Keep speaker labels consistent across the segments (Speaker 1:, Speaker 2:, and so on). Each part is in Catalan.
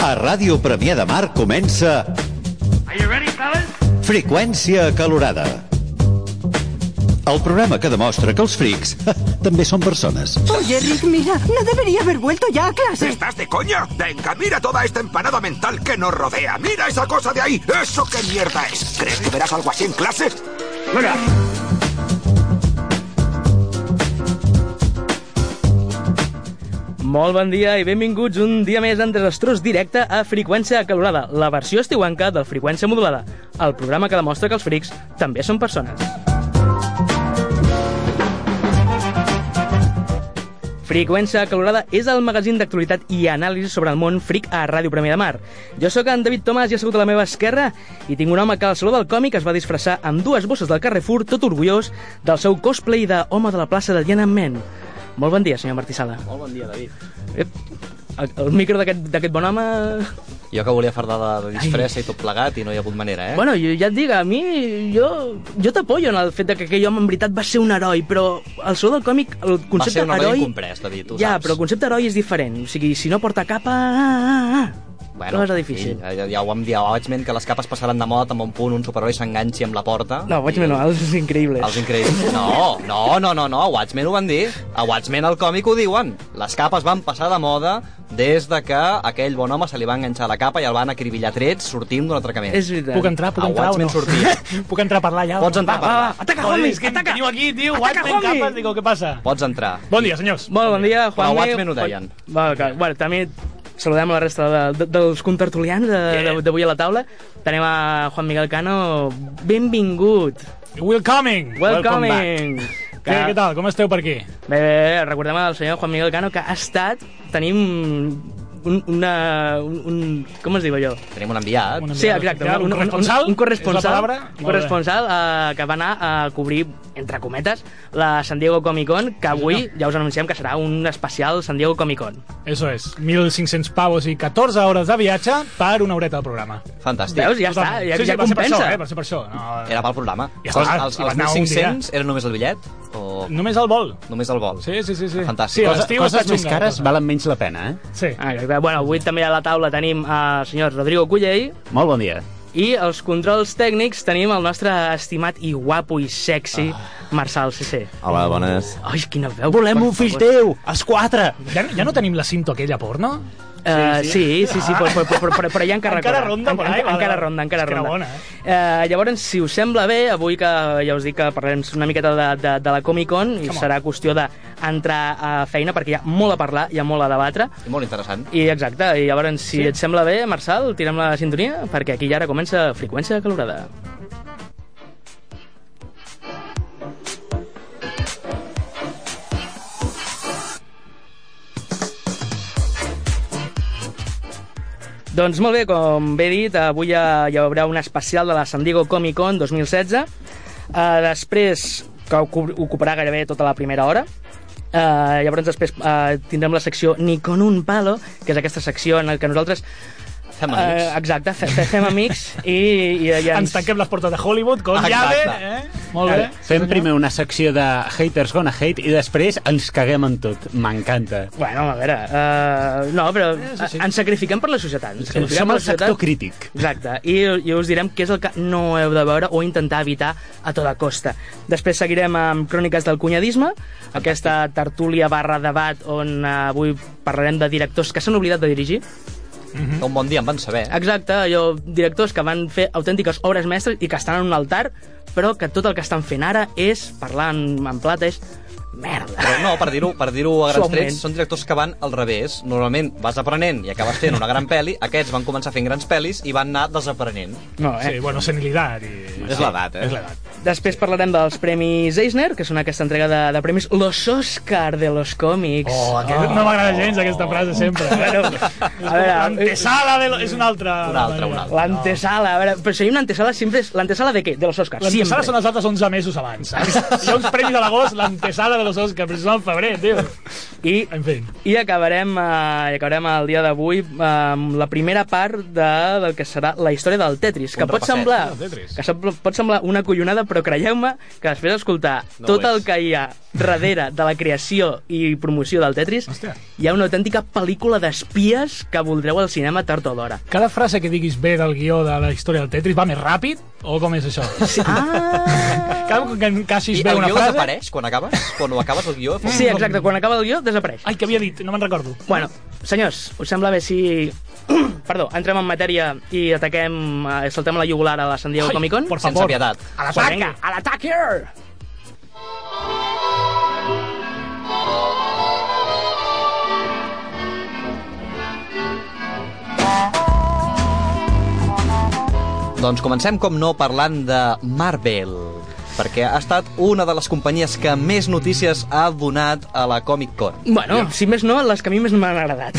Speaker 1: A Ràdio Premià de Mar comença
Speaker 2: Are you ready, fellas?
Speaker 1: Freqüència acalorada. El programa que demostra que els frics també són persones.
Speaker 3: Oye, Rick, mira, no debería haber vuelto ya a clase.
Speaker 4: ¿Estás de coña? Venga, mira toda esta empanada mental que nos rodea. Mira esa cosa de ahí. ¿Eso qué mierda es? ¿Crees que verás algo así en clase?
Speaker 2: Look up.
Speaker 5: Molt bon dia i benvinguts un dia més en Desastrós Directe a Freqüència Acalorada, la versió estiuanca del Freqüència Modulada, el programa que demostra que els frics també són persones. Freqüència Acalorada és el magazín d'actualitat i anàlisi sobre el món fric a Ràdio Premià de Mar. Jo sóc en David Tomàs i assegut a la meva esquerra i tinc un home que al Saló del Còmic es va disfressar amb dues bosses del Carrefour, tot orgullós del seu cosplay de Home de la plaça de Tiananmen. Molt bon dia, senyor Martí Sala.
Speaker 6: Molt bon dia, David.
Speaker 5: Ep, el, el micro d'aquest d'aquest bon home...
Speaker 6: Jo que volia fardar de, de disfressa i tot plegat i no hi ha hagut manera,
Speaker 5: Eh?
Speaker 6: eh?
Speaker 5: Bueno, jo ja et dic, a mi... Jo, jo t'apoyo en el fet de que aquell home en veritat va ser un heroi, però el so del còmic, el concepte
Speaker 6: ser un heroi
Speaker 5: heroi...
Speaker 6: incomprès, David, tu
Speaker 5: Ja,
Speaker 6: saps.
Speaker 5: però el concepte heroi és diferent. O sigui, si no porta capa... Ah, ah, ah. Bueno, cosa difícil.
Speaker 6: Sí, eh, ja, ja ho vam dir a Watchmen, que les capes passaran de moda amb un punt, un superheroi s'enganxi amb la porta.
Speaker 5: No, vaig menor, és increïble.
Speaker 6: Els increïbles. No, no, no, no, no, a Watchmen ho van dir. A Watchmen el còmic ho diuen. Les capes van passar de moda des de que aquell bon home se li va enganxar la capa i el van acribillar trets sortint d'un atracament.
Speaker 5: És veritat.
Speaker 7: Puc entrar, puc
Speaker 6: A
Speaker 7: entrar o no?
Speaker 6: Watchmen sortia.
Speaker 7: puc entrar a parlar ja?
Speaker 6: Pots entrar,
Speaker 5: Va, va, va, ataca, homies,
Speaker 7: que
Speaker 5: ataca!
Speaker 7: Veniu aquí, tio,
Speaker 5: Ataca,
Speaker 7: Watchmen,
Speaker 5: homie!
Speaker 7: capes, digo, què passa?
Speaker 6: Pots entrar.
Speaker 7: Bon dia, senyors.
Speaker 5: Molt bon dia, Juan.
Speaker 6: Però Watchmen ho deien.
Speaker 5: Va, clar, bueno, també saludem a la resta de, de, dels contertulians de- de- d'avui a la taula. Tenim a Juan Miguel Cano. Benvingut.
Speaker 7: We're coming!
Speaker 5: Welcoming.
Speaker 7: back. Què, què tal? Com esteu per aquí?
Speaker 5: Bé, bé, recordem el senyor Juan Miguel Cano que ha estat, tenim un, una, un, un com es diu allò?
Speaker 6: Tenim un enviat.
Speaker 7: Una-
Speaker 5: Sí, exacte,
Speaker 7: Un corresponsal?
Speaker 5: un, un
Speaker 7: És la
Speaker 5: corresponsal,
Speaker 7: paraula?
Speaker 5: un corresponsal eh, que va anar a cobrir, entre cometes, la San Diego Comic Con, que avui ja us anunciem que serà un especial San Diego Comic Con.
Speaker 7: Eso és. 1.500 pavos i 14 hores de viatge per una horeta del programa.
Speaker 6: Fantàstic.
Speaker 5: Veus, ja està,
Speaker 7: Totalment.
Speaker 5: ja,
Speaker 7: sí, sí,
Speaker 5: ja
Speaker 7: va ser per
Speaker 5: compensa.
Speaker 7: això, eh? Va ser per això. No,
Speaker 6: Era pel programa.
Speaker 7: Ja està,
Speaker 6: els,
Speaker 7: si
Speaker 6: els
Speaker 7: vas anar un
Speaker 6: 1.500 era només el bitllet? O...
Speaker 7: eh, Només el vol.
Speaker 6: Només el vol?
Speaker 7: Sí, sí, sí. sí.
Speaker 6: Fantàstic.
Speaker 7: Sí, a
Speaker 6: Cosa-
Speaker 7: l'estiu
Speaker 8: Coses
Speaker 7: està
Speaker 8: més
Speaker 7: xunga,
Speaker 8: cares
Speaker 7: la cosa.
Speaker 8: valen menys la pena, eh?
Speaker 7: Sí.
Speaker 5: Ah, exacte. bueno, avui també a la taula tenim eh, el senyor Rodrigo Cullell,
Speaker 8: Molt bon dia.
Speaker 5: I als controls tècnics tenim el nostre estimat i guapo i sexy
Speaker 7: Ah.
Speaker 5: Marçal CC.
Speaker 9: Hola, bones.
Speaker 5: Ai, quina veu.
Speaker 8: Volem un fill teu, els quatre!
Speaker 7: Ja, ja no tenim la cinta aquella porno?
Speaker 5: Uh, sí, sí, sí, però, però, però, però, però ja encara,
Speaker 7: Encara ronda per ahí,
Speaker 5: encara,
Speaker 7: vale,
Speaker 5: encara
Speaker 7: vale.
Speaker 5: ronda, encara
Speaker 7: És que era
Speaker 5: ronda.
Speaker 7: bona,
Speaker 5: eh? llavors, si us sembla bé, avui que ja us dic que parlarem una miqueta de, de, de la Comic-Con i
Speaker 7: Come on.
Speaker 5: serà qüestió d'entrar a feina perquè hi ha molt a parlar, hi ha molt a debatre.
Speaker 6: I Molt interessant.
Speaker 5: I exacte, i llavors, si sí. et sembla bé, Marçal, tirem la sintonia, perquè aquí ja ara comença Freqüència Calorada. Doncs molt bé, com bé dit, avui ja, hi haurà un especial de la San Diego Comic Con 2016. Uh, després, que ocu- ocuparà gairebé tota la primera hora. Uh, llavors després uh, tindrem la secció Ni con un palo, que és aquesta secció en la que nosaltres...
Speaker 6: Fem amics.
Speaker 5: Eh, exacte, fe, fe, fem amics i, i, i
Speaker 7: Ens tanquem les portes de Hollywood con
Speaker 6: Exacte.
Speaker 7: llave, eh? Molt bé.
Speaker 8: Fem primer una secció de haters gonna hate i després ens caguem en tot. M'encanta.
Speaker 5: Bueno, a veure... Uh, no, però sí, sí. ens sacrifiquem per la societat. Ens sacrifiquem
Speaker 8: Som
Speaker 5: per
Speaker 8: el
Speaker 5: la societat.
Speaker 8: sector crític.
Speaker 5: Exacte, i, i us direm què és el que no heu de veure o intentar evitar a tota costa. Després seguirem amb Cròniques del Cunyadisme, aquesta tertúlia barra debat on eh, avui parlarem de directors que s'han oblidat de dirigir.
Speaker 6: Que Un bon dia en van saber.
Speaker 5: Exacte, allò, directors que van fer autèntiques obres mestres i que estan en un altar, però que tot el que estan fent ara és, parlar en, en plata, és merda.
Speaker 6: Però no, per dir-ho per dir a grans
Speaker 5: Suaument.
Speaker 6: trets, són directors que van al revés. Normalment vas aprenent i acabes fent una gran pel·li. Aquests van començar fent grans pel·lis i van anar desaprenent.
Speaker 5: No, eh?
Speaker 7: Sí, bueno, senilitat i...
Speaker 9: És l'edat, eh?
Speaker 7: És l'edat.
Speaker 5: Després parlarem dels Premis Eisner, que són aquesta entrega de, de premis Los Oscar de los còmics.
Speaker 7: Oh, aquest, no m'agrada gens aquesta frase sempre. eh?
Speaker 5: Bueno, a veure,
Speaker 7: L'antesala de... lo- És una altra...
Speaker 6: Una altra, una altra.
Speaker 5: L'antesala, a veure, però si hi ha una antesala sempre és... L'antesala de què? De los Oscars,
Speaker 7: L'antesala
Speaker 5: sempre.
Speaker 7: són els altres 11 mesos abans, saps? Hi ha uns premis a l'agost, l'antesala de los Oscars, però són al febrer, tio.
Speaker 5: I,
Speaker 7: En fi.
Speaker 5: I acabarem, eh, i acabarem el dia d'avui eh, amb la primera part de, del que serà la història del Tetris, que
Speaker 6: Un
Speaker 5: pot
Speaker 6: repasset.
Speaker 5: semblar,
Speaker 7: Ah, el Tetris.
Speaker 5: que sem- pot semblar una collonada, però creieu-me que després d'escoltar
Speaker 6: No
Speaker 5: no tot
Speaker 6: ho és.
Speaker 5: el que hi ha darrere de la creació i promoció del Tetris,
Speaker 7: Hòstia.
Speaker 5: hi ha una autèntica pel·lícula d'espies que voldreu al cinema tard o d'hora.
Speaker 7: Cada frase que diguis bé del guió de la història del Tetris va més ràpid? O com és això?
Speaker 5: Ah!
Speaker 7: Cada cop que encaixis
Speaker 6: I
Speaker 7: bé
Speaker 6: el
Speaker 7: una
Speaker 6: guió
Speaker 7: frase...
Speaker 6: desapareix quan acabes? Quan ho acabes el guió?
Speaker 7: Mm.
Speaker 6: fa un-
Speaker 5: Sí, exacte, quan acaba el guió desapareix.
Speaker 7: Ai, que havia dit, no me'n recordo.
Speaker 5: Bueno, senyors, us sembla bé si... Perdó, entrem en matèria i ataquem, eh, saltem la jugular a la San Diego
Speaker 7: Ai,
Speaker 5: Comic Con?
Speaker 7: por
Speaker 6: Sense
Speaker 7: favor.
Speaker 6: pietat.
Speaker 7: A la
Speaker 5: Pues
Speaker 7: taca,
Speaker 5: venga.
Speaker 7: a la taca!
Speaker 6: Doncs comencem, com no, parlant de Marvel perquè ha estat una de les companyies que més notícies ha donat a la Comic-Con.
Speaker 5: Bueno, si més no, les que a mi més m'han agradat.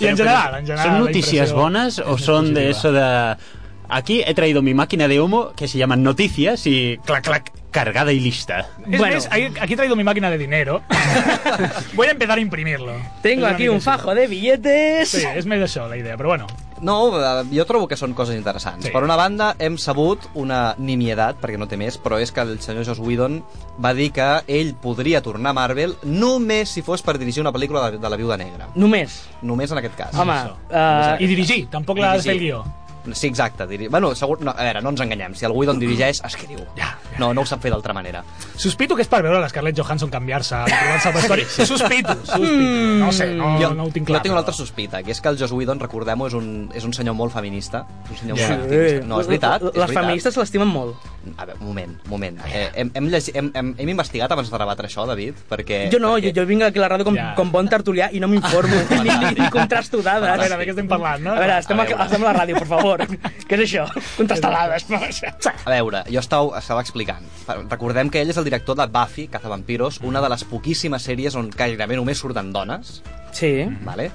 Speaker 7: I en general, en general...
Speaker 8: ¿Son
Speaker 7: la
Speaker 8: noticias
Speaker 7: impressió-
Speaker 8: buenas o
Speaker 7: es
Speaker 8: son de
Speaker 7: positiva.
Speaker 8: eso de... Aquí he traído mi máquina de humo que se llama Noticias y clac, clac, cargada y lista.
Speaker 7: Es
Speaker 5: Bueno.
Speaker 7: más, ahí- aquí he traído mi máquina de dinero. Voy a empezar a imprimirlo. Es
Speaker 5: Tengo
Speaker 7: una
Speaker 5: aquí
Speaker 7: mica
Speaker 5: un
Speaker 7: així.
Speaker 5: fajo de billetes.
Speaker 7: Sí, és més això, la idea, però bueno.
Speaker 6: No, eh, jo trobo que són coses interessants.
Speaker 7: Sí.
Speaker 6: Per una banda, hem sabut una nimiedat, perquè no té més, però és que el senyor Joss Whedon va dir que ell podria tornar a Marvel només si fos per dirigir una pel·lícula de, de la Viuda Negra.
Speaker 5: Només.
Speaker 6: Només en aquest cas.
Speaker 5: Home,
Speaker 7: això.
Speaker 5: eh,
Speaker 7: I dirigir, tampoc l'ha de fer el
Speaker 6: Dirigir.
Speaker 7: guió.
Speaker 6: Sí, exacte. Diri... Bueno, segur... no, a veure, no ens enganyem. Si el Whedon dirigeix, escriu.
Speaker 7: Ja, ja,
Speaker 6: no, no ho sap fer d'altra manera.
Speaker 7: Sospito que és per veure l'Scarlett Johansson canviar-se, trobar-se el vestuari. Sospito, sospito. No ho sé, no, no ho tinc clar.
Speaker 6: jo tinc una altra
Speaker 7: però-
Speaker 6: sospita, que és que el Joss Whedon, recordem-ho, és un, és un senyor molt feminista. És un senyor
Speaker 7: Ja.
Speaker 6: molt feminista. No, és veritat.
Speaker 5: Les
Speaker 6: és veritat.
Speaker 5: feministes l'estimen molt.
Speaker 6: A veure, un moment, un moment. Eh, hem, hem, llegi... hem, hem, hem investigat abans de rebatre això, David? Perquè...
Speaker 5: Jo no, jo,
Speaker 6: Eh, perquè...
Speaker 5: jo vinc aquí a la ràdio com,
Speaker 7: Ja.
Speaker 5: com bon tertulià i no m'informo, ni, ni, ni contrasto dades.
Speaker 7: A veure, de què estem parlant, no?
Speaker 5: A veure, estem a,
Speaker 6: A veure.
Speaker 5: estem a la ràdio, per favor. Què és això? Contestalades. No?
Speaker 6: A veure, jo estava, estava explicant. Recordem que ell és el director de Buffy, Cazavampiros, una de les poquíssimes sèries on gairebé només surten dones.
Speaker 5: Sí.
Speaker 6: vale?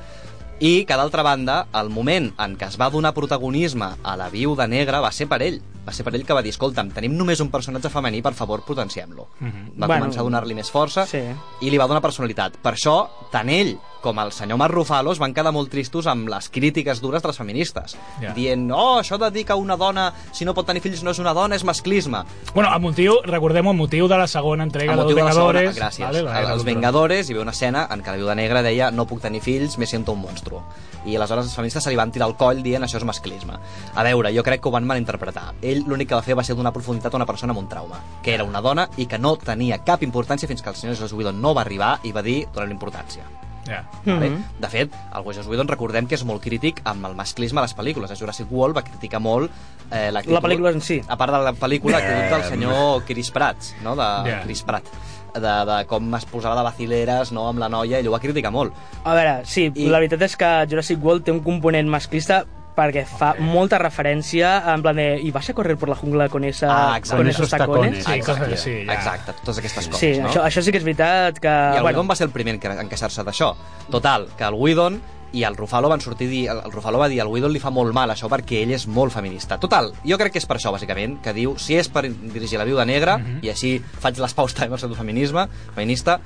Speaker 6: I que d'altra banda, el moment en què es va donar protagonisme a la viuda negra va ser per ell. Va ser per ell que va dir, escolta'm, tenim només un personatge femení, per favor, potenciem-lo. Va
Speaker 5: Mhm. Bueno,
Speaker 6: començar a donar-li més força
Speaker 5: sí.
Speaker 6: i li va donar personalitat. Per això, tant ell com el senyor Marc Rufalos van quedar molt tristos amb les crítiques dures de les feministes,
Speaker 7: Ja.
Speaker 6: dient, oh, això de dir que una dona, si no pot tenir fills, no és una dona, és masclisme.
Speaker 7: Bueno, el motiu, recordem el motiu de la segona entrega
Speaker 6: El
Speaker 7: dels
Speaker 6: motiu de la segona,
Speaker 7: Vengadores.
Speaker 6: gràcies.
Speaker 7: vale, la
Speaker 6: Vale,
Speaker 7: Guerra
Speaker 6: els
Speaker 7: d'Ultron.
Speaker 6: Vengadores hi ve una escena en què la viuda negra deia no puc tenir fills, me siento un monstru. I aleshores els feministes se li van tirar al coll dient això és masclisme. A veure, jo crec que ho van malinterpretar. Ell l'únic que va fer va ser donar profunditat a una persona amb un trauma, que era una dona i que no tenia cap importància fins que el senyor Joss Whedon no va arribar i va dir donar-li importància.
Speaker 7: Ja.
Speaker 6: Vale?
Speaker 5: Mhm.
Speaker 6: De fet, el Joss Whedon recordem que és molt crític amb el masclisme a les pel·lícules. A Jurassic World va criticar molt eh, l'actitud...
Speaker 5: La pel·lícula en si.
Speaker 6: A part de la pel·lícula, l'actitud del senyor Chris Pratt, no? De
Speaker 7: Eh, Yeah.
Speaker 6: Chris Pratt de, de com es posava de vacileres no, amb la noia, ell ho va criticar molt.
Speaker 5: A veure, sí,
Speaker 6: I-
Speaker 5: I... la veritat és que Jurassic World té un component masclista perquè fa okay. molta referència en plan de i vas a correr por la jungla con, esa,
Speaker 6: Ah, exacte.
Speaker 5: con
Speaker 6: Con
Speaker 5: esos
Speaker 8: esos
Speaker 5: tacones.
Speaker 8: tacones.
Speaker 7: Sí,
Speaker 6: Exacte.
Speaker 7: coses així, ja.
Speaker 6: Exacte, totes aquestes coses.
Speaker 5: Sí,
Speaker 6: no?
Speaker 5: això, això sí que és veritat que...
Speaker 6: I el
Speaker 5: bueno,
Speaker 6: Whedon va ser el primer en que- en queixar-se d'això. Total, que el Whedon i el Rufalo van sortir dir, el el Rufalo va dir al Whedon li fa molt mal això perquè ell és molt feminista. Total, jo crec que és per això, bàsicament, que diu, si és per dirigir la viuda negra,
Speaker 5: Mhm.
Speaker 6: i així faig les paus també al sector feminisme, feminista,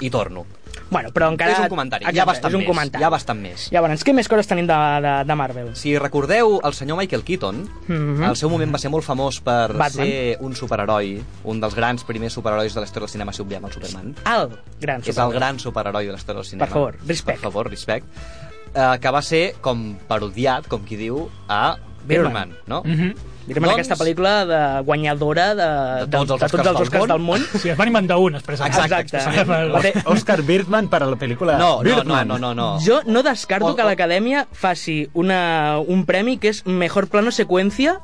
Speaker 6: i torno.
Speaker 5: bueno, però encara...
Speaker 6: és un comentari,
Speaker 5: Exacte,
Speaker 6: ja bastant
Speaker 5: és un
Speaker 6: més,
Speaker 5: comentari.
Speaker 6: ja bastant més.
Speaker 5: Llavors, què més coses tenim de, de, de Marvel?
Speaker 6: Si recordeu el senyor Michael Keaton,
Speaker 5: Mhm.
Speaker 6: al seu moment va ser molt famós per
Speaker 5: Batman.
Speaker 6: ser un superheroi, un dels grans primers superherois de la història del cinema, si obviem el Superman.
Speaker 5: El gran
Speaker 6: És el
Speaker 5: superheroi.
Speaker 6: gran superheroi de la història del cinema.
Speaker 5: Per favor, respect.
Speaker 6: Per favor, respect. Uh, que va ser com parodiat, com qui diu, a Birdman, no?
Speaker 7: Mhm.
Speaker 5: Direm en aquesta pel·lícula de guanyadora de,
Speaker 6: doncs- De tots els
Speaker 5: de, tots els
Speaker 6: Oscars
Speaker 5: Oscars
Speaker 6: del
Speaker 5: del món.
Speaker 7: Sí, es van inventar un, expressament.
Speaker 6: Exacte,
Speaker 7: expressament.
Speaker 5: Va fer-
Speaker 8: Oscar Birdman para la película
Speaker 6: No, no, no,
Speaker 8: Birdman.
Speaker 6: no, no, no.
Speaker 5: Jo no descarto
Speaker 6: O- o-
Speaker 5: que l'acadèmia faci una, un premi que és Mejor Plano Seqüència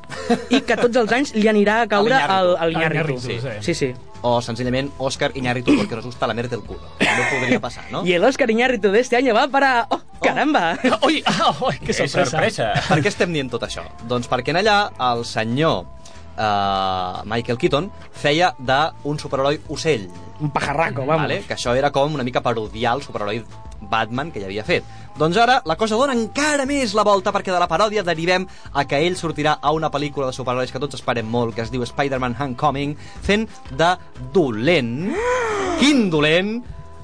Speaker 5: i que tots els anys li anirà a caure
Speaker 6: A
Speaker 5: al,
Speaker 6: l'Iñárritu.
Speaker 5: al Iñárritu.
Speaker 7: A l'Iñárritu, sí.
Speaker 5: sí, sí.
Speaker 6: O, senzillament, Òscar Iñárritu, perquè nos gusta la merda del culo. No podria passar, no?
Speaker 5: I el Oscar Iñárritu d'este any va para... Oh, caramba!
Speaker 7: Ui, ah, ui, que
Speaker 8: Qué
Speaker 7: sorpresa.
Speaker 8: sorpresa.
Speaker 6: Per què estem dient tot això? Doncs perquè en allà el senyor eh, Michael Keaton feia d'un superheroi ocell,
Speaker 5: Un pajarraco, vamos.
Speaker 6: vale? que això era com una mica parodiar el superheroi Batman que ja havia fet. Doncs ara la cosa dona encara més la volta perquè de la paròdia derivem a que ell sortirà a una pel·lícula de superherois que tots esperem molt, que es diu Spider-Man Homecoming, fent de dolent, quin dolent,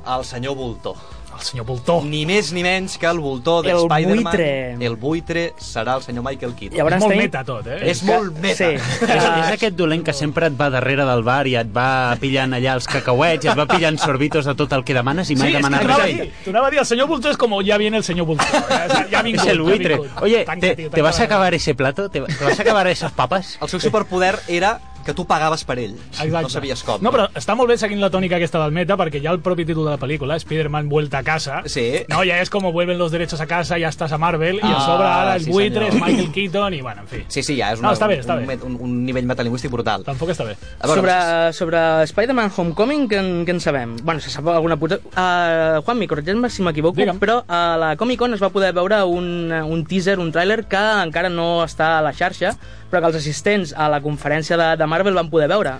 Speaker 6: el senyor Bulto.
Speaker 7: El senyor Voltor.
Speaker 6: Ni més ni menys que el voltor de
Speaker 9: El
Speaker 6: Spider-Man.
Speaker 9: buitre.
Speaker 6: El buitre serà el senyor Michael Keaton.
Speaker 9: Llavors
Speaker 7: És molt
Speaker 9: tenim-
Speaker 7: meta tot, eh?
Speaker 6: És molt meta.
Speaker 9: Sí.
Speaker 8: És, és aquest dolent que sempre et va darrere del bar i et va pillant allà els cacauets, i et va pillant sorbitos de tot el que demanes i mai
Speaker 7: Sí, és que
Speaker 8: demanes
Speaker 7: t'anava a
Speaker 8: res.
Speaker 7: dir, t'anava a dir, el senyor Bulto és com ja viene el senyor Bulto. Ja, ja ha vingut,
Speaker 8: es el
Speaker 7: ja ha
Speaker 8: buitre.
Speaker 7: vingut.
Speaker 8: Oye,
Speaker 7: Tanca,
Speaker 8: te,
Speaker 7: tio,
Speaker 8: te vas a
Speaker 7: tanca.
Speaker 8: acabar ese plato? ¿Te, te vas a acabar esas papas?
Speaker 6: El seu superpoder era que tu pagaves per ell.
Speaker 7: Exacte.
Speaker 6: No sabies com.
Speaker 7: No, però està molt bé seguint la tònica aquesta del meta, perquè ja el propi títol de la pel·lícula, Spider-Man vuelta a casa,
Speaker 6: Sí.
Speaker 7: no, ja és com vuelven los derechos a casa, ja estàs a Marvel, i a
Speaker 6: Ah,
Speaker 7: sobre ara el
Speaker 6: sí,
Speaker 7: buitre,
Speaker 6: senyor.
Speaker 7: és Michael Keaton, i bueno, en fi.
Speaker 6: Sí, sí, ja és
Speaker 7: No,
Speaker 6: una,
Speaker 7: està bé,
Speaker 6: un,
Speaker 7: està
Speaker 6: un,
Speaker 7: bé.
Speaker 6: met- un, un nivell metalingüístic brutal.
Speaker 7: Tampoc està bé.
Speaker 6: A veure,
Speaker 5: sobre, sobre Spider-Man Homecoming, què en, què en sabem? Bueno, se sap alguna puta... Uh, Juanmi, corregeix-me si m'equivoco,
Speaker 7: Digue'm.
Speaker 5: però a la Comic-Con es va poder veure un, un teaser, un tràiler que encara no està a la xarxa, però que els assistents a la conferència de, de Marvel van poder veure.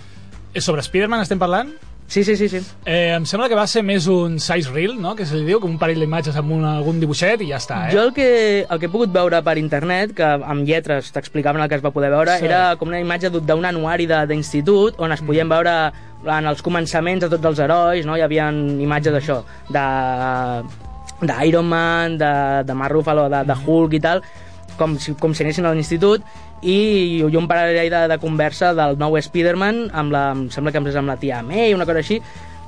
Speaker 7: Eh, Sobre Spider-Man estem parlant?
Speaker 5: Sí, sí, sí, sí.
Speaker 7: Eh, em sembla que va ser més un size reel, no?, que se li diu, com un parell d'imatges amb un, algun dibuixet i ja està, eh?
Speaker 5: Jo el que, el que he pogut veure per internet, que amb lletres t'explicaven el que es va poder veure,
Speaker 7: Sí.
Speaker 5: sí. era com una imatge d'un- d'un anuari de- d'institut on es podien veure en els començaments de tots els herois, no? hi havia imatges d'això, de d'Iron Man, de, de Mark Ruffalo, de, de Hulk i tal, com si, com si anessin a l'institut, i, i un parell de, de conversa del nou Spider-Man, amb la, em sembla que és amb la tia May, una cosa així,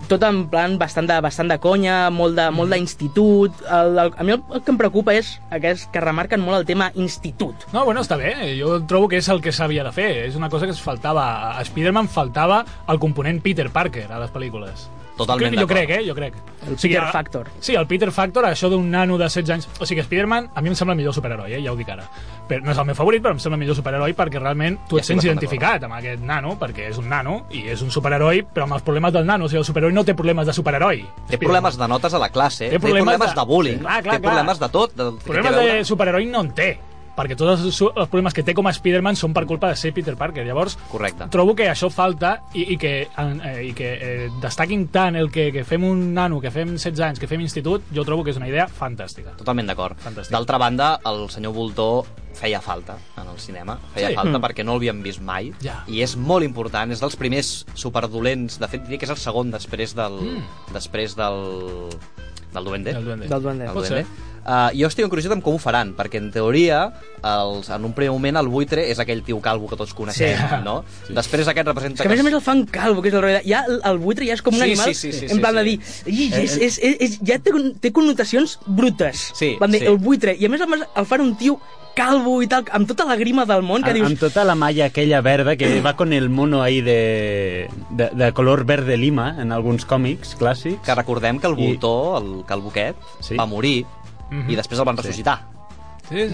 Speaker 5: tot en plan bastant de, bastant de conya, molt de, molt d'institut. El, el, a mi el, el que em preocupa és aquest, que remarquen molt el tema institut.
Speaker 7: No, bueno, està bé. Jo trobo que és el que s'havia de fer. És una cosa que es faltava. A Spider-Man faltava el component Peter Parker a les pel·lícules.
Speaker 6: Totalment
Speaker 7: Jo
Speaker 6: d'acord.
Speaker 7: crec, eh? Jo crec.
Speaker 5: El
Speaker 7: O sigui,
Speaker 5: Peter
Speaker 7: a-
Speaker 5: Factor.
Speaker 7: Sí, el Peter Factor, això d'un nano de 16 anys... O sigui, Spider-Man a mi em sembla el millor superheroi, eh? ja ho dic ara. Però no és el meu favorit, però em sembla el millor superheroi perquè realment tu
Speaker 6: Ja estic
Speaker 7: et sents
Speaker 6: bastant
Speaker 7: identificat amb aquest nano, perquè és un nano i és un superheroi, però amb els problemes del nano. O sigui, el superheroi no té problemes de superheroi.
Speaker 6: Té problemes de notes a la classe, té problemes, de, bullying,
Speaker 7: clar, clar,
Speaker 6: té
Speaker 7: clar.
Speaker 6: problemes de tot. De,
Speaker 7: problemes
Speaker 6: té a veure-
Speaker 7: de superheroi no en té perquè tots els, su- els problemes que té com a Spider-Man són per culpa de ser Peter Parker. Llavors,
Speaker 6: Correcte.
Speaker 7: trobo que això falta i, i que, en- eh, i que eh, destaquin tant el que, que fem un nano, que fem 16 anys, que fem institut, jo trobo que és una idea fantàstica.
Speaker 6: Totalment d'acord.
Speaker 7: Fantàstic.
Speaker 6: D'altra banda, el senyor Voltor feia falta en el cinema, feia
Speaker 7: Sí.
Speaker 6: sí. falta perquè no l'havíem vist mai,
Speaker 7: Ja.
Speaker 6: i és molt important, és dels primers superdolents, de fet diria que és el segon després del... Mm. després del... del Duende.
Speaker 7: El duende.
Speaker 5: Del Duende.
Speaker 6: El
Speaker 7: Pot
Speaker 6: Duende.
Speaker 7: ser.
Speaker 6: Uh, jo estic curiositat amb com ho faran, perquè en teoria, els, en un primer moment, el buitre és aquell tio calvo que tots coneixem,
Speaker 7: Sí.
Speaker 6: sí. no? Sí. Després aquest
Speaker 5: És
Speaker 6: representa...
Speaker 5: que a més a més el fan calvo, que és el rotllo de... Ja el, el buitre ja és com un
Speaker 6: Sí,
Speaker 5: animal
Speaker 6: sí, sí, sí,
Speaker 5: en plan
Speaker 6: sí, Eh,
Speaker 5: de dir... "Ii, És, és, és, és, ja té, con- té connotacions brutes.
Speaker 6: Sí,
Speaker 5: Van dir,
Speaker 6: sí.
Speaker 5: el buitre. I a més a més el fan un tio calvo i tal, amb tota la grima del món, que
Speaker 8: Am-
Speaker 5: dius...
Speaker 8: Amb tota la malla aquella verda que va con el mono ahí de, de, de color verde lima en alguns còmics clàssics.
Speaker 6: Que recordem que el
Speaker 8: I-
Speaker 6: Voltor, el calvoquet,
Speaker 8: Sí.
Speaker 6: sí. va morir i després el van ressuscitar.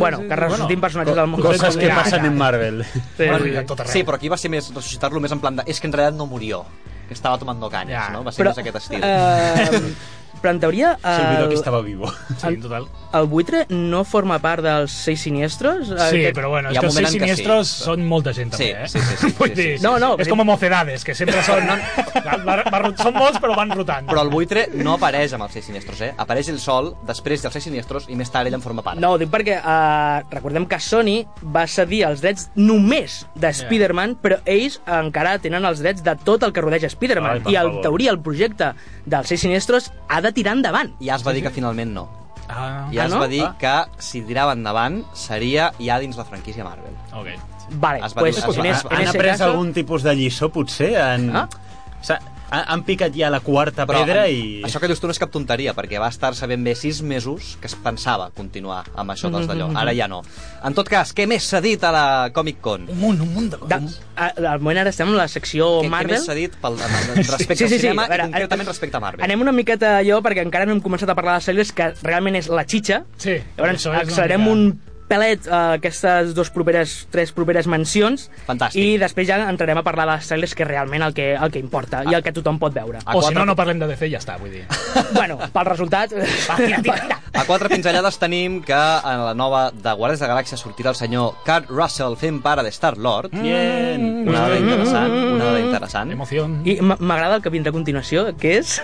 Speaker 5: Bueno, que ressuscitin personatges del món.
Speaker 8: Coses que
Speaker 7: Ja,
Speaker 8: passen
Speaker 7: ja.
Speaker 8: en Marvel.
Speaker 5: Sí,
Speaker 7: Bueno,
Speaker 5: sí,
Speaker 7: i
Speaker 5: sí.
Speaker 7: a tot arreu.
Speaker 6: Sí, però aquí va ser més ressuscitar-lo més en plan de... És que en realitat no murió, que estava tomando cañas,
Speaker 7: Ja.
Speaker 6: no? Va ser més aquest estil.
Speaker 5: Eh, però en teoria...
Speaker 8: S'olvidó que
Speaker 5: El,
Speaker 8: estava vivo.
Speaker 7: Sí, en total.
Speaker 5: el buitre no forma part dels seis siniestros?
Speaker 7: Sí,
Speaker 5: Aquest-
Speaker 7: però bueno,
Speaker 6: Eh, Hi ha
Speaker 7: és que els
Speaker 6: un moment
Speaker 7: seis
Speaker 6: en què sí.
Speaker 7: siniestros sí. són molta gent, també,
Speaker 6: Sí,
Speaker 7: eh?
Speaker 6: sí, sí, sí,
Speaker 7: Vull
Speaker 6: sí,
Speaker 7: dir,
Speaker 6: sí, sí.
Speaker 5: No, no,
Speaker 7: és com a mocedades, que sempre són... Va, va, va, rot- són molts, però van rotant.
Speaker 6: Però el buitre no apareix amb els seis siniestros, eh? Apareix el sol, després dels seis siniestros, i més tard ell en forma part.
Speaker 5: No, ho dic perquè eh, recordem que Sony va cedir els drets només de Spider-Man, però ells encara tenen els drets de tot el que rodeja
Speaker 8: Ai,
Speaker 5: Spider-Man.
Speaker 8: per
Speaker 5: I en
Speaker 8: favor.
Speaker 5: teoria el projecte dels Seis Sinestros ha de tirar endavant.
Speaker 6: Ja es va dir que finalment no.
Speaker 7: Ah,
Speaker 6: Ja
Speaker 5: Ah,
Speaker 6: es
Speaker 5: no?
Speaker 6: va dir que si tirava endavant seria ja dins la franquícia Marvel.
Speaker 7: ok.
Speaker 5: Vale,
Speaker 6: Es va
Speaker 5: pues,
Speaker 6: dir- es va-
Speaker 5: en, es,
Speaker 6: han
Speaker 5: en
Speaker 8: Han
Speaker 5: ese
Speaker 8: après
Speaker 5: caso,
Speaker 8: algun tipus de lliçó, potser? En...
Speaker 5: Ah.
Speaker 8: S'ha- ha- Han picat ja la quarta pedra i...
Speaker 6: Això que dius tu no és cap tonteria, perquè va estar-se ben bé sis mesos que es pensava continuar amb això dels d'allò.
Speaker 5: Mm-hmm.
Speaker 6: Ara ja no. En tot cas, què més s'ha dit a la Comic-Con?
Speaker 7: Un munt, un munt de
Speaker 5: De, a, al moment ara estem en la secció
Speaker 6: Què, què
Speaker 5: Oh, Marvel.
Speaker 6: més s'ha dit pel, respecte al cinema
Speaker 5: A veure,
Speaker 6: i concretament respecte a Marvel?
Speaker 5: Anem una miqueta allò, perquè encara no hem començat a parlar de sèries que realment és la xitxa.
Speaker 7: Sí,
Speaker 5: Llavors,
Speaker 7: això és una
Speaker 5: accelerem
Speaker 7: mica-
Speaker 5: un pelet a aquestes dues properes, tres properes mencions.
Speaker 6: Fantàstic.
Speaker 5: I després ja entrarem a parlar de les sèries que realment el que, el que importa i el que tothom pot veure.
Speaker 6: A
Speaker 7: O si
Speaker 6: quatre-
Speaker 7: no, no parlem de DC i ja està, vull dir.
Speaker 5: bueno, pel resultat... Va, tira, tira.
Speaker 6: A quatre pinzellades tenim que en la nova de Guardians de la Galàxia sortirà el senyor Kurt Russell fent pare de Star-Lord.
Speaker 5: Mm.
Speaker 8: Bien.
Speaker 6: Una dada interessant, una dada interessant.
Speaker 7: Emoció.
Speaker 5: I m- m'agrada el que vindrà a continuació, que és...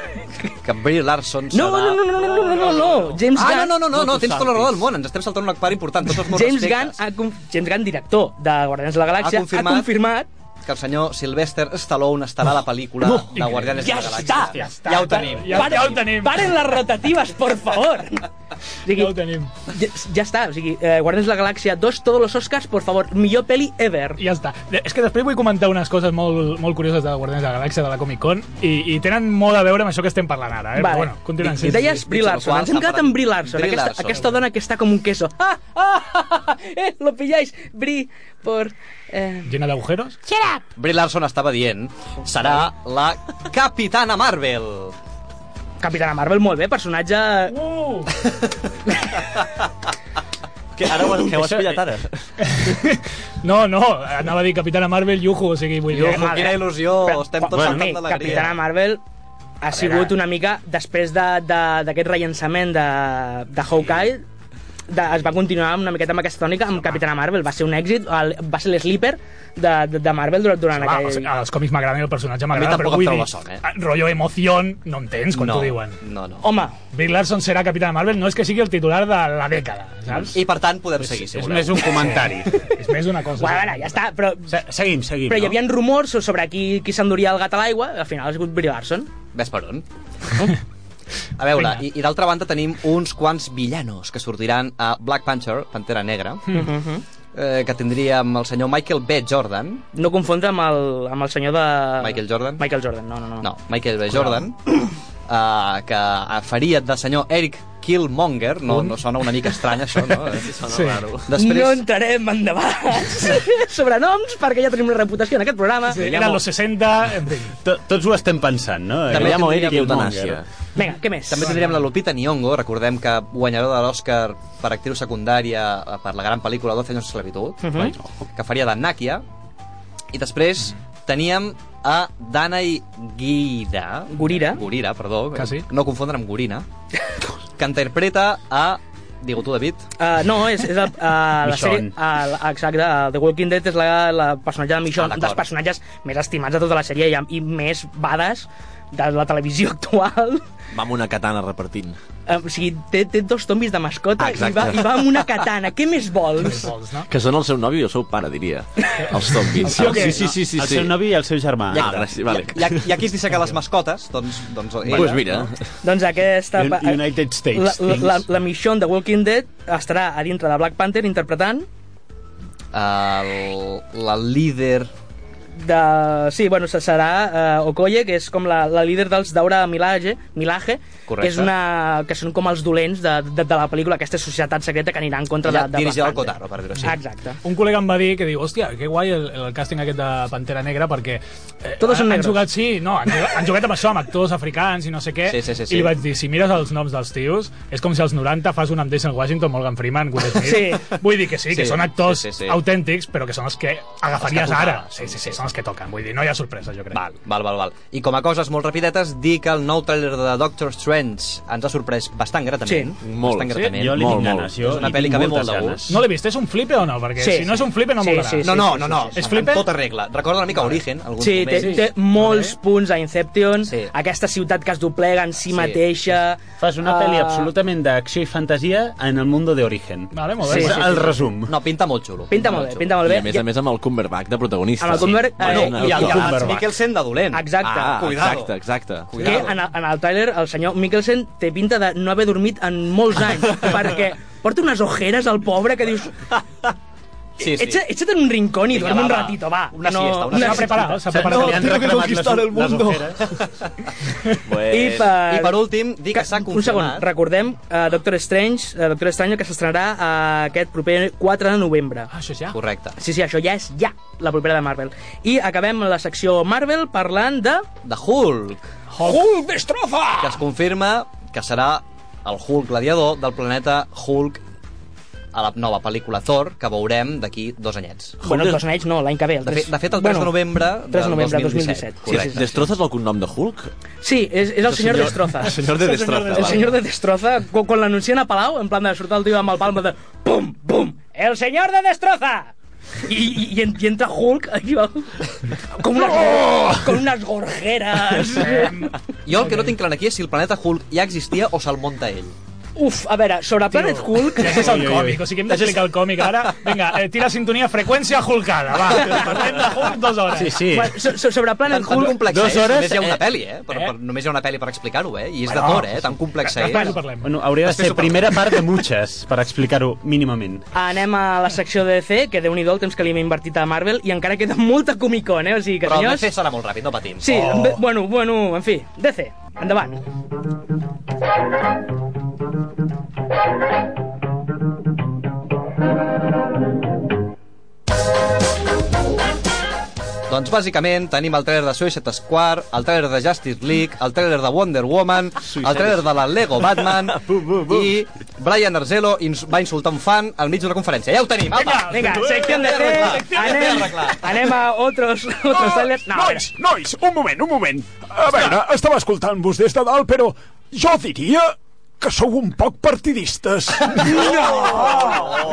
Speaker 6: Que Brie Larson
Speaker 5: No,
Speaker 6: serà...
Speaker 5: no, no, no, no, no, no, no, no. James
Speaker 6: Ah,
Speaker 5: Gunn...
Speaker 6: no, no, no, no, no, tens tota la raó del món, ens estem saltant una part important, tots els meus
Speaker 5: James Gunn,
Speaker 6: respectes.
Speaker 5: ha, conf- James Gunn, director de Guardians de la Galàxia, ha
Speaker 6: confirmat-
Speaker 5: confirmat
Speaker 6: que el senyor Sylvester Stallone estarà a la pel·lícula de Guardianes de
Speaker 9: Ja
Speaker 6: la
Speaker 9: està!
Speaker 6: Galàxia. Ja ho tenim.
Speaker 7: Ja-
Speaker 9: Paren-
Speaker 7: ja ho tenim.
Speaker 9: Paren les rotatives, por favor!
Speaker 5: O
Speaker 7: Ja
Speaker 5: sigui,
Speaker 7: ho tenim.
Speaker 5: ja, ja està, o sigui, eh, Guardians de la Galàxia 2, todos los Oscars, por favor, millor peli ever.
Speaker 7: I ja està. De- És que després vull comentar unes coses molt, molt curioses de Guardians de la Galàxia, de la Comic Con, i, i tenen molt a veure amb això que estem parlant ara. Eh? Però Bueno, continuem.
Speaker 5: I deies Brie
Speaker 6: Dicho lo
Speaker 5: Larson,
Speaker 6: cual,
Speaker 5: ens hem quedat amb Brie Larson,
Speaker 6: Brie
Speaker 5: aquesta,
Speaker 6: Larson.
Speaker 5: aquesta dona que està com un queso. Ah, ah, ah, ah, eh, lo pilláis, Brie, por... Eh,
Speaker 7: Llena d'agujeros?
Speaker 6: Brie Larson estava dient serà la Capitana Marvel.
Speaker 5: Capitana Marvel, molt bé, personatge...
Speaker 7: Uh!
Speaker 6: Que ara ho, que ho has pillat ara.
Speaker 7: No, no, anava a dir Capitana Marvel, yuhu, o sigui, vull dir... eh,
Speaker 6: Iu, quina il·lusió, Oh, estem tots
Speaker 5: bueno,
Speaker 6: saltant
Speaker 5: mi,
Speaker 6: d'alegria.
Speaker 5: Capitana Marvel ha sigut una mica, després de- de- d'aquest rellançament de, de Hawkeye, de, es va continuar una miqueta amb aquesta tònica amb Capitana Marvel, va ser un èxit, el, va ser l'sleeper de, de, de Marvel durant, durant
Speaker 7: Va,
Speaker 5: aquell...
Speaker 7: els, els còmics m'agraden i el personatge m'agrada,
Speaker 6: tampoc
Speaker 7: però
Speaker 6: em
Speaker 7: vull
Speaker 6: treu
Speaker 7: dir...
Speaker 6: la son, eh?
Speaker 7: Rollo emoción, no entens quan
Speaker 6: no,
Speaker 7: t'ho diuen.
Speaker 6: No, no.
Speaker 5: Home,
Speaker 7: Brie Larson serà Capitana Marvel, no és que sigui el titular de la dècada, saps?
Speaker 6: I per tant podem seguir, si
Speaker 5: Mm.
Speaker 8: És
Speaker 6: voleu.
Speaker 8: més un comentari.
Speaker 7: És més una cosa.
Speaker 5: bueno, a veure, ja està, però,
Speaker 8: Se- Seguim, seguim.
Speaker 5: Mm. però hi
Speaker 8: no?
Speaker 5: havia rumors sobre qui, qui s'enduria el gat a l'aigua, al final ha sigut Brie Larson.
Speaker 6: Ves per on. A veure, i, i d'altra banda tenim uns quants villanos que sortiran a Black Panther, Pantera Negra, eh, que tindríem el senyor Michael B. Jordan.
Speaker 5: No confondre amb el, amb el senyor de...
Speaker 6: Michael Jordan?
Speaker 5: Michael Jordan, no, no, no.
Speaker 6: No, Michael B. Jordan, eh, que faria de senyor Eric Killmonger. No, no sona una mica estrany, això, no? Eh,
Speaker 7: Sí.
Speaker 6: Després...
Speaker 5: No entrarem en debats sobre noms, perquè ja tenim una reputació en aquest programa.
Speaker 7: Sí, Eren los 60, en fi.
Speaker 8: To- Tots ho estem pensant, no?
Speaker 6: També
Speaker 8: Guillermo
Speaker 6: tindríem
Speaker 8: Eric
Speaker 6: eutanàsia.
Speaker 8: Killmonger.
Speaker 5: Vinga, què més?
Speaker 6: També tindríem la Lupita Nyong'o, recordem que guanyadora de l'Oscar per actriu secundària eh, per la gran pel·lícula 12 anys de esclavitud, que faria de Nakia. I després teníem a Danai Gurira.
Speaker 5: Gurira.
Speaker 6: Gurira, perdó.
Speaker 7: Quasi.
Speaker 6: No confondre amb Gorina. que interpreta a... Digue tu, David.
Speaker 5: Uh, no, és, és el, uh, la sèrie...
Speaker 8: Michonne.
Speaker 5: Uh, exacte, uh, The Walking Dead és la, la personatge de Michonne,
Speaker 6: Ah,
Speaker 5: un
Speaker 6: d'acord.
Speaker 5: dels personatges més estimats de tota la sèrie i, i més bades de la televisió actual.
Speaker 10: Va amb una katana repartint.
Speaker 5: Eh, o sigui, té, té dos tombis de mascota
Speaker 10: Ah,
Speaker 5: i,
Speaker 10: exacte.
Speaker 5: va, i va amb una katana. Què més vols?
Speaker 7: Vols, no?
Speaker 10: Que són el seu nòvio i el seu pare, diria. Els zombies.
Speaker 7: Sí o què?
Speaker 10: sí, sí, sí, sí,
Speaker 8: El
Speaker 10: sí.
Speaker 8: seu novi i el seu germà.
Speaker 10: Ah, gràcies, vale.
Speaker 6: Hi ha, hi ha qui es disseca les mascotes, doncs... doncs ella,
Speaker 10: Pues mira,
Speaker 6: no?
Speaker 5: doncs aquesta...
Speaker 8: Un- United
Speaker 5: la,
Speaker 8: States.
Speaker 5: la, la,
Speaker 8: things.
Speaker 5: la Michonne de Walking Dead estarà a dintre de Black Panther interpretant
Speaker 6: eh, El, la líder...
Speaker 5: de... Sí, bueno, se- serà uh, Okoye, que és com la, la líder dels Daura Milaje, Milaje que,
Speaker 6: Correcte.
Speaker 5: és una, que són com els dolents de, de, de la pel·lícula, aquesta societat secreta que anirà en contra
Speaker 6: Ja,
Speaker 5: de, de
Speaker 6: dirigida al
Speaker 5: Black Panther.
Speaker 6: Kotaro, per dir-ho així.
Speaker 5: Exacte.
Speaker 7: Un col·lega em va dir que diu, hòstia, que guai el, el càsting aquest de Pantera Negra perquè eh,
Speaker 5: Todos son
Speaker 7: han, han
Speaker 5: negros.
Speaker 7: jugat, sí, no, han, jugat- han jugat amb això, amb actors africans i no sé què,
Speaker 6: Sí, sí, sí, sí.
Speaker 7: i li vaig dir, si mires els noms dels tios, és com si als 90 fas un amb Denzel Washington, Morgan Freeman, Will Smith.
Speaker 5: Sí.
Speaker 7: Vull dir que sí, que
Speaker 6: Sí,
Speaker 7: són actors
Speaker 6: sí, sí, sí.
Speaker 7: autèntics, però que són els que agafaries
Speaker 6: Els que
Speaker 7: ara.
Speaker 6: tocaven.
Speaker 7: Sí, sí, sí, són els que toquen. Vull dir, no hi ha sorpresa, jo crec.
Speaker 6: Val, val, val, val. I com a coses molt rapidetes, dir que el nou tràiler de Doctor Strange ens ha sorprès bastant gratament.
Speaker 5: Sí.
Speaker 10: Molt.
Speaker 6: Bastant
Speaker 10: Sí?
Speaker 6: gratament.
Speaker 8: Jo li
Speaker 10: Molt,
Speaker 8: tinc
Speaker 10: molt.
Speaker 8: ganes. Jo
Speaker 6: És una
Speaker 8: li
Speaker 6: pel·li
Speaker 8: tinc
Speaker 6: que ve molt
Speaker 8: moltes
Speaker 6: de
Speaker 8: ganes.
Speaker 6: gust.
Speaker 7: No l'he vist, és un flipe o no? Perquè
Speaker 5: Sí,
Speaker 7: si no és
Speaker 5: sí.
Speaker 7: un flipe no
Speaker 5: Sí,
Speaker 7: m'agradarà.
Speaker 5: sí, sí.
Speaker 6: No, no, no, no.
Speaker 7: sí.
Speaker 6: És
Speaker 7: Flipper?
Speaker 6: Amb tota regla. Recorda una mica Origen, algun
Speaker 5: Sí, té,
Speaker 6: moment.
Speaker 5: té molts
Speaker 7: Vale.
Speaker 5: punts a Inception,
Speaker 6: Sí.
Speaker 5: aquesta ciutat que es doblega en si
Speaker 6: Sí.
Speaker 5: mateixa...
Speaker 8: Fas una pel·li
Speaker 5: eh,
Speaker 8: absolutament d'acció i fantasia en el mundo de origen.
Speaker 7: Vale, molt
Speaker 5: Sí,
Speaker 7: bé.
Speaker 8: És
Speaker 5: sí, sí,
Speaker 8: el resum.
Speaker 6: No, pinta molt xulo.
Speaker 5: Pinta molt bé, pinta molt
Speaker 10: I
Speaker 5: bé.
Speaker 10: a més a més amb el Cumberbatch de protagonista.
Speaker 5: Amb el Cumberbatch, eh,
Speaker 10: Bueno,
Speaker 6: I el, i el Mads
Speaker 8: Cumberbatch.
Speaker 6: Mikkelsen de dolent.
Speaker 5: Exacte.
Speaker 10: Ah,
Speaker 6: Cuidado.
Speaker 10: exacte, exacte.
Speaker 5: que
Speaker 6: Cuidado.
Speaker 5: en el, en el tràiler el senyor Mikkelsen té pinta de no haver dormit en molts anys, perquè porta unes ojeres al pobre que dius...
Speaker 6: Sí, sí.
Speaker 5: Echa, echa't en un rincón i
Speaker 6: Vinga,
Speaker 5: dorm un
Speaker 6: va, va.
Speaker 5: ratito, va.
Speaker 6: Una
Speaker 5: que no,
Speaker 6: siesta, una
Speaker 7: S'ha
Speaker 6: siesta.
Speaker 7: preparat, s'ha preparat.
Speaker 8: Se li han reclamat les- les ojeres.
Speaker 10: Pues...
Speaker 5: I per,
Speaker 6: I per últim, dir que s'ha
Speaker 5: Un segon,
Speaker 6: confirmat...
Speaker 5: recordem uh, Doctor Strange, uh, Doctor Strange que s'estrenarà uh, aquest proper 4 de novembre.
Speaker 7: Ah, això és ja.
Speaker 6: Correcte.
Speaker 5: Sí, sí, això ja és ja, la propera de Marvel. I acabem la secció Marvel parlant de...
Speaker 6: De Hulk,
Speaker 5: Hulk Destroza!
Speaker 6: que es confirma que serà el Hulk gladiador del planeta Hulk a la nova pel·lícula Thor, que veurem d'aquí dos anyets.
Speaker 5: Bueno, dos anys no, l'any que ve. el
Speaker 6: De,
Speaker 5: tres-
Speaker 6: fet, de fet, el 3 de novembre del
Speaker 5: 3 de novembre 2017.
Speaker 6: 2017.
Speaker 10: Sí,
Speaker 6: Correcte.
Speaker 10: Destrozas el cognom de Hulk?
Speaker 5: Sí, és, és el senyor Destroza.
Speaker 10: El senyor de Destroza.
Speaker 5: El senyor de Destroza, cu- quan l'anuncien a Palau, en plan de sortir el tio amb el palma de... Pum, pum, el senyor de Destroza! I, i, i, en- i entra Hulk aquí, va, com unes, oh! com unes gorjeres. Eh.
Speaker 6: Jo el que no tinc clar aquí és si el planeta Hulk ja existia o se'l munta ell.
Speaker 9: Uf, a veure, sobre Planet Hulk...
Speaker 7: Ja és el còmic, o sigui, hem d'explicar el còmic ara. Vinga, eh, tira sintonia, freqüència hulcada, va. Parlem de Hulk dues hores.
Speaker 8: Sí, sí.
Speaker 5: Bueno, so, so, sobre Planet
Speaker 6: Tan, tan
Speaker 5: Hulk...
Speaker 6: complexa
Speaker 8: Dues
Speaker 6: és,
Speaker 8: hores,
Speaker 6: només hi ha una
Speaker 8: eh?
Speaker 6: pel·li, eh? Per, per, només hi ha una pel·li per explicar-ho, eh? I és de Thor, eh? Tan complexa és.
Speaker 7: Després ho parlem.
Speaker 8: Bueno, hauria de
Speaker 6: Després
Speaker 8: ser
Speaker 6: ho parlem.
Speaker 8: primera part de muchas, per explicar-ho mínimament.
Speaker 5: Anem a la secció de DC, que déu nhi el temps que li hem invertit a Marvel, i encara queda molta Comic-Con, eh? O sigui que,
Speaker 6: Però el
Speaker 5: senyors...
Speaker 6: DC serà molt ràpid, no patim.
Speaker 5: Sí, oh. bueno, bueno, en fi, DC, endavant.
Speaker 6: Doncs bàsicament tenim el trailer de Suicide Squad, el trailer de Justice League, el trailer de Wonder Woman, el trailer de la Lego Batman i Brian Arzelo ins va insultar un fan al mig d'una conferència. Ja ho tenim, apa!
Speaker 5: Vinga, secció de DC, anem, anem a otros, otros trailers... No, a veure.
Speaker 11: Ah, Nois, nois, un moment, un moment. A veure, estava escoltant-vos des de dalt, però jo diria que sou un poc partidistes. No!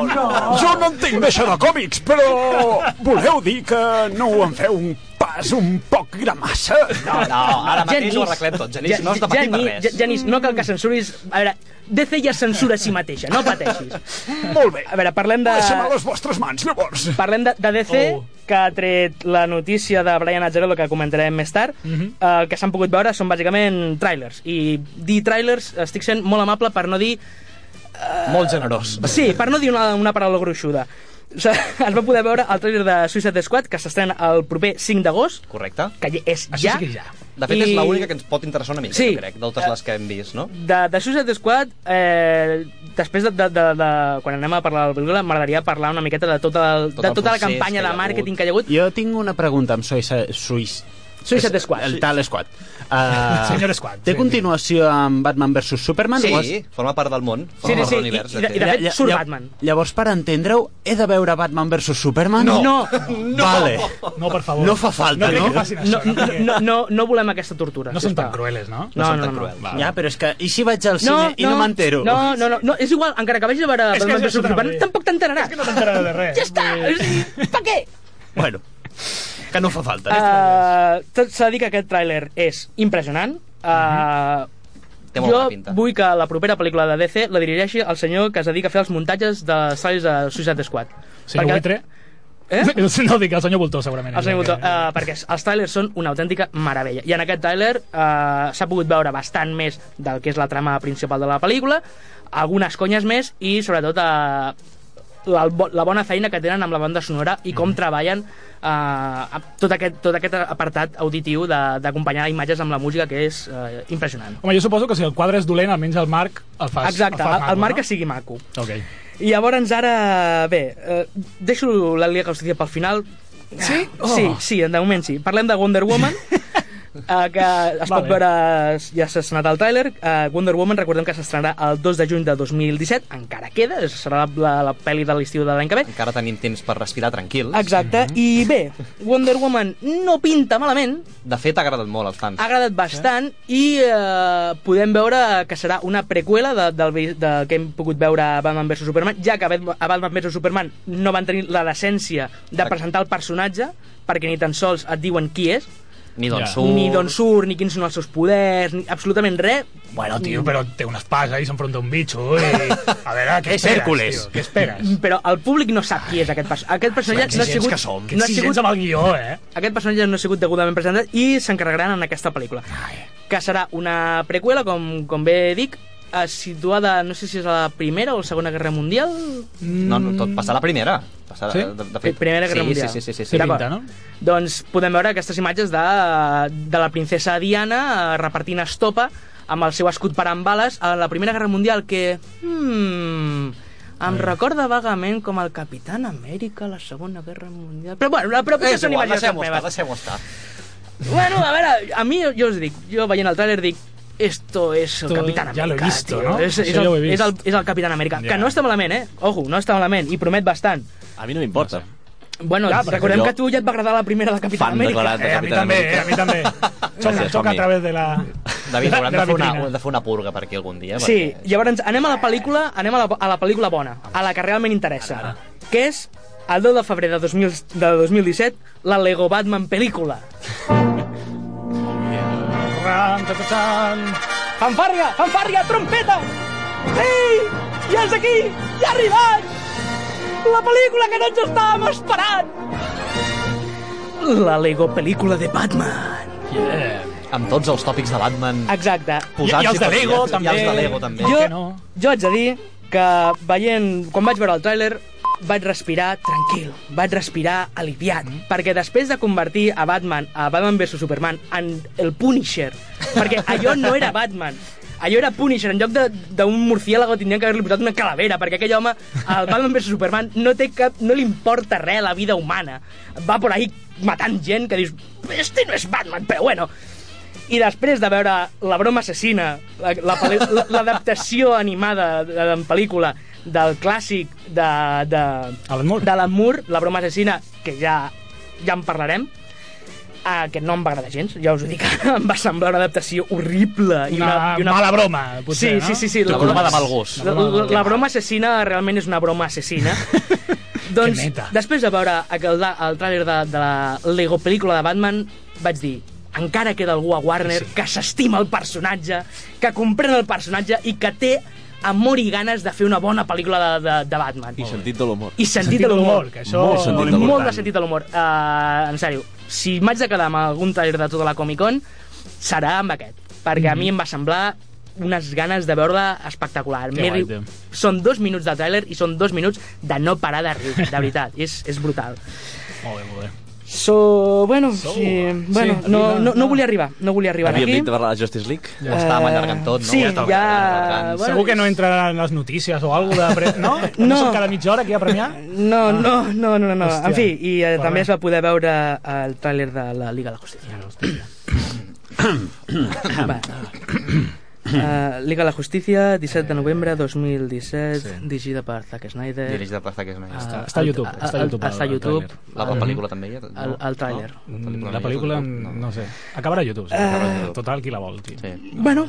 Speaker 11: no. Jo no entenc d'això de còmics, però voleu dir que no ho en feu un pas un poc gramassa?
Speaker 6: No, no, ara mateix
Speaker 5: Genís.
Speaker 6: ho arreglem tot. Genís,
Speaker 5: Ge-
Speaker 6: no has de patir per
Speaker 5: Geni- Ge-
Speaker 6: res.
Speaker 5: Genís, no cal que censuris... A veure, DC ja es censura a si mateixa, no pateixis.
Speaker 11: Molt bé.
Speaker 5: A veure, parlem de...
Speaker 11: Deixem a les vostres mans, llavors.
Speaker 5: Parlem de, de DC, oh.
Speaker 7: Oh.
Speaker 5: que ha tret la notícia de Brian Azzarello, que comentarem més tard.
Speaker 7: Mhm.
Speaker 5: Mm -hmm. El que s'han pogut veure són bàsicament trailers. I dir trailers estic sent molt amable per no dir...
Speaker 6: Molt generós.
Speaker 5: Sí, per no dir una, una paraula gruixuda. O sigui, es va poder veure el trailer de Suicide Squad, que s'estrena el proper 5 d'agost,
Speaker 6: Correcte.
Speaker 5: que ja és
Speaker 7: Això
Speaker 5: ja.
Speaker 7: sí que és ja.
Speaker 6: De fet,
Speaker 5: I
Speaker 6: és l'única que ens pot interessar una mica,
Speaker 5: Sí.
Speaker 6: jo crec, de totes les que hem vist, no?
Speaker 5: De, de Suicide Squad, eh, després de, de, de, de, quan anem a parlar de la pel·lícula, m'agradaria parlar una miqueta de tota, el,
Speaker 6: Tot
Speaker 5: de
Speaker 6: el
Speaker 5: tota la
Speaker 6: procés
Speaker 5: campanya
Speaker 6: que hi ha
Speaker 5: de màrqueting
Speaker 6: hagut.
Speaker 5: que hi ha hagut.
Speaker 8: Jo tinc una pregunta amb Suïssa... Suïs...
Speaker 5: Suicide Squad.
Speaker 8: El tal Squad. Uh,
Speaker 7: Senyor Squad,
Speaker 8: Té
Speaker 7: sí,
Speaker 8: continuació amb Batman vs Superman? o
Speaker 6: Sí,
Speaker 8: és-
Speaker 6: forma part del món,
Speaker 5: Sí,
Speaker 6: forma
Speaker 5: sí,
Speaker 6: part de
Speaker 5: sí,
Speaker 6: l'univers.
Speaker 5: i- i de-
Speaker 6: de fet.
Speaker 5: i de- fet, surt
Speaker 8: lla-
Speaker 5: Batman.
Speaker 8: Llavors, per entendre-ho, he de veure Batman vs Superman?
Speaker 5: No.
Speaker 8: no. Vale.
Speaker 7: No, per favor.
Speaker 8: No fa falta,
Speaker 7: no? crec
Speaker 8: no?
Speaker 7: que facin
Speaker 5: No,
Speaker 7: això, no?
Speaker 5: no,
Speaker 7: perquè
Speaker 5: no, no, no volem aquesta tortura.
Speaker 7: No són tan
Speaker 5: sisplau.
Speaker 7: crueles, no?
Speaker 5: No,
Speaker 6: són
Speaker 5: no,
Speaker 6: tan
Speaker 5: no.
Speaker 6: cruels.
Speaker 8: Ja, però és que... I si vaig al cine i no, m'entero?
Speaker 5: No, no, no, no, és igual, encara que vagis a veure
Speaker 7: És que
Speaker 5: Batman
Speaker 7: això
Speaker 5: vs Superman,
Speaker 7: també.
Speaker 5: tampoc t'enteraràs.
Speaker 7: És que no t'enteres de res.
Speaker 5: Ja està! és a dir, Per què?
Speaker 8: Bueno, que no fa falta.
Speaker 5: Uh, tot s'ha de dir que aquest tràiler és impressionant.
Speaker 7: Mhm.
Speaker 5: Uh,
Speaker 6: Té molt
Speaker 5: jo
Speaker 6: bona pinta.
Speaker 5: vull que la propera pel·lícula de DC la dirigeixi el senyor que es dedica a fer els muntatges de sales de Suicide Squad.
Speaker 7: Senyor Buitre?
Speaker 5: Eh?
Speaker 7: No, dic el senyor Voltor, segurament.
Speaker 5: El senyor Botó, eh, perquè els trailers són una autèntica meravella. I en aquest trailer eh, s'ha pogut veure bastant més del que és la trama principal de la pel·lícula, algunes conyes més i, sobretot, eh, la, bo- la bona feina que tenen amb la banda sonora i
Speaker 7: Mm.
Speaker 5: com treballen eh, amb tot, aquest, tot aquest apartat auditiu de- d'acompanyar imatges amb la música, que és eh, impressionant.
Speaker 7: Home, jo suposo que si el quadre és dolent, almenys el Marc el fas
Speaker 5: Exacte,
Speaker 7: el, fas
Speaker 5: el, el marc
Speaker 7: no?
Speaker 5: que sigui maco.
Speaker 7: Ok.
Speaker 5: I llavors ara, bé, eh, deixo la Liga Justicia pel final. Sí? Oh. Sí, sí, de moment sí. Parlem de Wonder Woman, eh, que es pot
Speaker 7: Vale.
Speaker 5: veure, ja s'ha estrenat el tràiler. Eh, Wonder Woman, recordem que s'estrenarà el 2 de juny de 2017, encara queda, serà la, la, la pel·li de l'estiu de l'any que ve.
Speaker 6: Encara tenim temps per respirar tranquils.
Speaker 5: Exacte, i bé, Wonder Woman no pinta malament,
Speaker 6: De fet, ha agradat molt als fans.
Speaker 5: ha agradat bastant i eh, podem veure que serà una preqüela de, del, vi- de, que hem pogut veure a Batman vs Superman, ja que a Bat- a Batman vs Superman no van tenir la decència de
Speaker 6: Exacte.
Speaker 5: presentar el personatge perquè ni tan sols et diuen qui és,
Speaker 6: Ni d'on
Speaker 7: Ja.
Speaker 6: surt...
Speaker 5: ni d'on
Speaker 7: Oh.
Speaker 5: surt, ni quins són els seus poders, ni absolutament res.
Speaker 7: Bueno, tio, però té una espasa i s'enfronta a un bitxo. eh, I... A veure, què
Speaker 8: És
Speaker 7: esperes,
Speaker 8: Hércules.
Speaker 7: tio? Què esperes?
Speaker 5: Però el públic no sap qui és aquest personatge. Aquest personatge no ha
Speaker 7: Exigents
Speaker 5: sigut,
Speaker 7: que som. Que
Speaker 5: no ha
Speaker 7: exigents
Speaker 5: sigut
Speaker 7: amb el guió, eh?
Speaker 5: aquest personatge no ha sigut degudament presentat i s'encarregaran en aquesta pel·lícula. Que serà una preqüela, com, com bé dic, eh, situada, no sé si és a la Primera o la Segona Guerra Mundial...
Speaker 6: No, no, tot passarà a la primera. Passarà,
Speaker 7: Sí?
Speaker 6: de, de fet.
Speaker 5: Primera Guerra
Speaker 6: sí,
Speaker 5: Mundial.
Speaker 6: Sí, sí, sí. sí,
Speaker 7: Sí,
Speaker 6: sí.
Speaker 5: D'acord.
Speaker 7: pinta, no?
Speaker 5: Doncs podem veure aquestes imatges de, de la princesa Diana eh, repartint estopa amb el seu escut parant bales a la Primera Guerra Mundial que... Hmm, em recorda vagament com el Capitán Amèrica a la Segona Guerra Mundial... Però bueno, però potser
Speaker 6: Eh, És
Speaker 5: són
Speaker 6: igual,
Speaker 5: imatges
Speaker 6: deixem-ho estar,
Speaker 5: meves.
Speaker 6: deixem-ho estar.
Speaker 5: Bueno, a veure, a mi, jo us dic, jo veient el tràiler dic, esto es el
Speaker 7: Esto
Speaker 5: Capitán
Speaker 7: ya
Speaker 5: América,
Speaker 7: lo he visto,
Speaker 5: tio.
Speaker 7: ¿no?
Speaker 5: És, és,
Speaker 7: Això ja ho he
Speaker 5: el,
Speaker 7: vist.
Speaker 5: és, el, és el Capitán Amèrica,
Speaker 7: Ja.
Speaker 5: que no està malament, eh? Ojo, no està malament, i promet bastant.
Speaker 10: A mi no m'importa.
Speaker 5: Bueno,
Speaker 7: Ja,
Speaker 5: ja,
Speaker 7: perquè
Speaker 5: recordem
Speaker 10: jo-
Speaker 5: que a tu ja et va agradar la primera del Capitán
Speaker 10: Fan
Speaker 5: Amèrica.
Speaker 10: declarat de
Speaker 7: Eh, a mi
Speaker 10: Capitán
Speaker 7: també, eh?
Speaker 10: Amèrica.
Speaker 7: A mi també.
Speaker 10: Xòfia,
Speaker 7: Xoca a
Speaker 10: som-hi.
Speaker 7: través de la...
Speaker 6: David, haurem
Speaker 7: de
Speaker 6: de,
Speaker 7: la
Speaker 6: fer una,
Speaker 7: vitrina.
Speaker 6: haurem de fer una purga per aquí algun dia.
Speaker 5: Sí,
Speaker 6: perquè-
Speaker 5: llavors anem a la pel·lícula, anem a la, a la pel·lícula bona, a la que realment interessa, que és el 10 de febrer de, 2000, de 2017, la Lego Batman pel·lícula.
Speaker 7: Ram, ta, ta, tan.
Speaker 5: Fanfàrria, fanfàrria, trompeta!
Speaker 9: Ei! Ja és aquí! Ja ha arribat! La pel·lícula que no ens estàvem esperant!
Speaker 5: La Lego pel·lícula de Batman.
Speaker 6: Yeah. Amb tots els tòpics de Batman...
Speaker 5: Exacte.
Speaker 6: Posats
Speaker 5: I- i els de Lego,
Speaker 6: penjats. I els de
Speaker 5: també.
Speaker 6: Lego, també.
Speaker 5: Jo, jo haig de dir que veient, quan vaig veure el tràiler, vaig respirar tranquil, vaig respirar aliviat, perquè després de convertir a Batman, a Batman vs Superman, en el Punisher, perquè allò no era Batman, allò era Punisher, en lloc de- d'un murciélago tindrien que haver-li posat una calavera, perquè aquell home, al Batman vs Superman, no té cap, no li importa res la vida humana. Va por ahí matant gent que dius, este no és Batman, però bueno, i després de veure La broma assassina, la- la pel·li- la- l'adaptació animada de- en pel·lícula del clàssic de, de, de l'Amur, La broma assassina, que ja, ja en parlarem, eh, que no em va agradar gens, ja us ho dic, em va semblar una adaptació horrible. I una,
Speaker 7: Una
Speaker 5: i una
Speaker 7: mala broma, potser,
Speaker 5: sí, Sí,
Speaker 7: no?
Speaker 5: sí, sí.
Speaker 7: Tu
Speaker 6: broma de mal gust.
Speaker 5: La, la, la broma assassina realment és una broma assassina. doncs, després de veure aquel, el tràiler de, de la Lego pel·lícula de Batman, vaig dir encara queda algú a Warner sí. que s'estima el personatge, que comprèn el personatge i que té amor i ganes de fer una bona pel·lícula de, de, de Batman.
Speaker 10: I sentit de l'humor.
Speaker 5: I sentit de l'humor.
Speaker 10: que això- Molt sentit de l'humor.
Speaker 5: Molt de sentit de l'humor. Uh, en sèrio, si m'haig de quedar amb algun trailer de tota la Comic-Con, serà amb aquest. Perquè mm -hmm. a mi em va semblar unes ganes de veure-la espectacular.
Speaker 7: Que
Speaker 5: M'he
Speaker 7: guai,
Speaker 5: riu- Són dos minuts de tràiler i són dos minuts de no parar de riure, de veritat. és, és brutal.
Speaker 7: Molt bé, molt bé.
Speaker 5: So, bueno, so, sí, bueno
Speaker 7: Sí,
Speaker 5: sí, no, no,
Speaker 7: no,
Speaker 5: no, no volia arribar, no volia arribar
Speaker 10: Havíem
Speaker 5: aquí.
Speaker 10: dit de parlar de Justice League.
Speaker 5: Ja Eh, estàvem allargant tot, no? sí, Ja estàvem ja- allargant.
Speaker 7: Segur que no entraran les notícies o alguna cosa de... Pre... No? no?
Speaker 5: No.
Speaker 7: No som cada mitja hora aquí a premiar?
Speaker 5: No, no, no, no, no. no.
Speaker 7: Ah. Hòstia.
Speaker 5: En fi, i eh,
Speaker 7: Però
Speaker 5: també
Speaker 7: bé.
Speaker 5: es va poder veure eh, el tràiler de la Liga de la Justícia. va. Uh, Liga de la Justícia, 17 de novembre 2017, sí. dirigida per Zack Snyder. Eh,
Speaker 6: Dirigida per Zack Snyder. Està-
Speaker 7: està a YouTube, està a YouTube
Speaker 5: Està a
Speaker 7: el
Speaker 5: YouTube.
Speaker 7: tràiler.
Speaker 6: La pel·lícula també hi ha, no?
Speaker 5: Ah, El, el tràiler.
Speaker 7: Mm, La pel·lícula, no, no sé. Acabarà a YouTube. Sí.
Speaker 5: Eh.
Speaker 7: Acabarà a YouTube. Total, qui la vol, tio.
Speaker 6: Sí.
Speaker 5: Bueno, uh,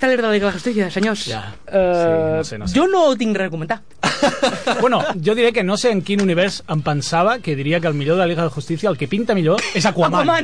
Speaker 5: tràiler de la Liga de la Justícia, senyors.
Speaker 7: Ja.
Speaker 5: Eh,
Speaker 7: no sé, no sé.
Speaker 5: Jo no ho tinc res a comentar.
Speaker 7: Bueno, jo diré que no sé en quin univers em pensava que diria que el millor de la Liga de Justícia, el que pinta millor, és Aquaman.
Speaker 5: Aquaman.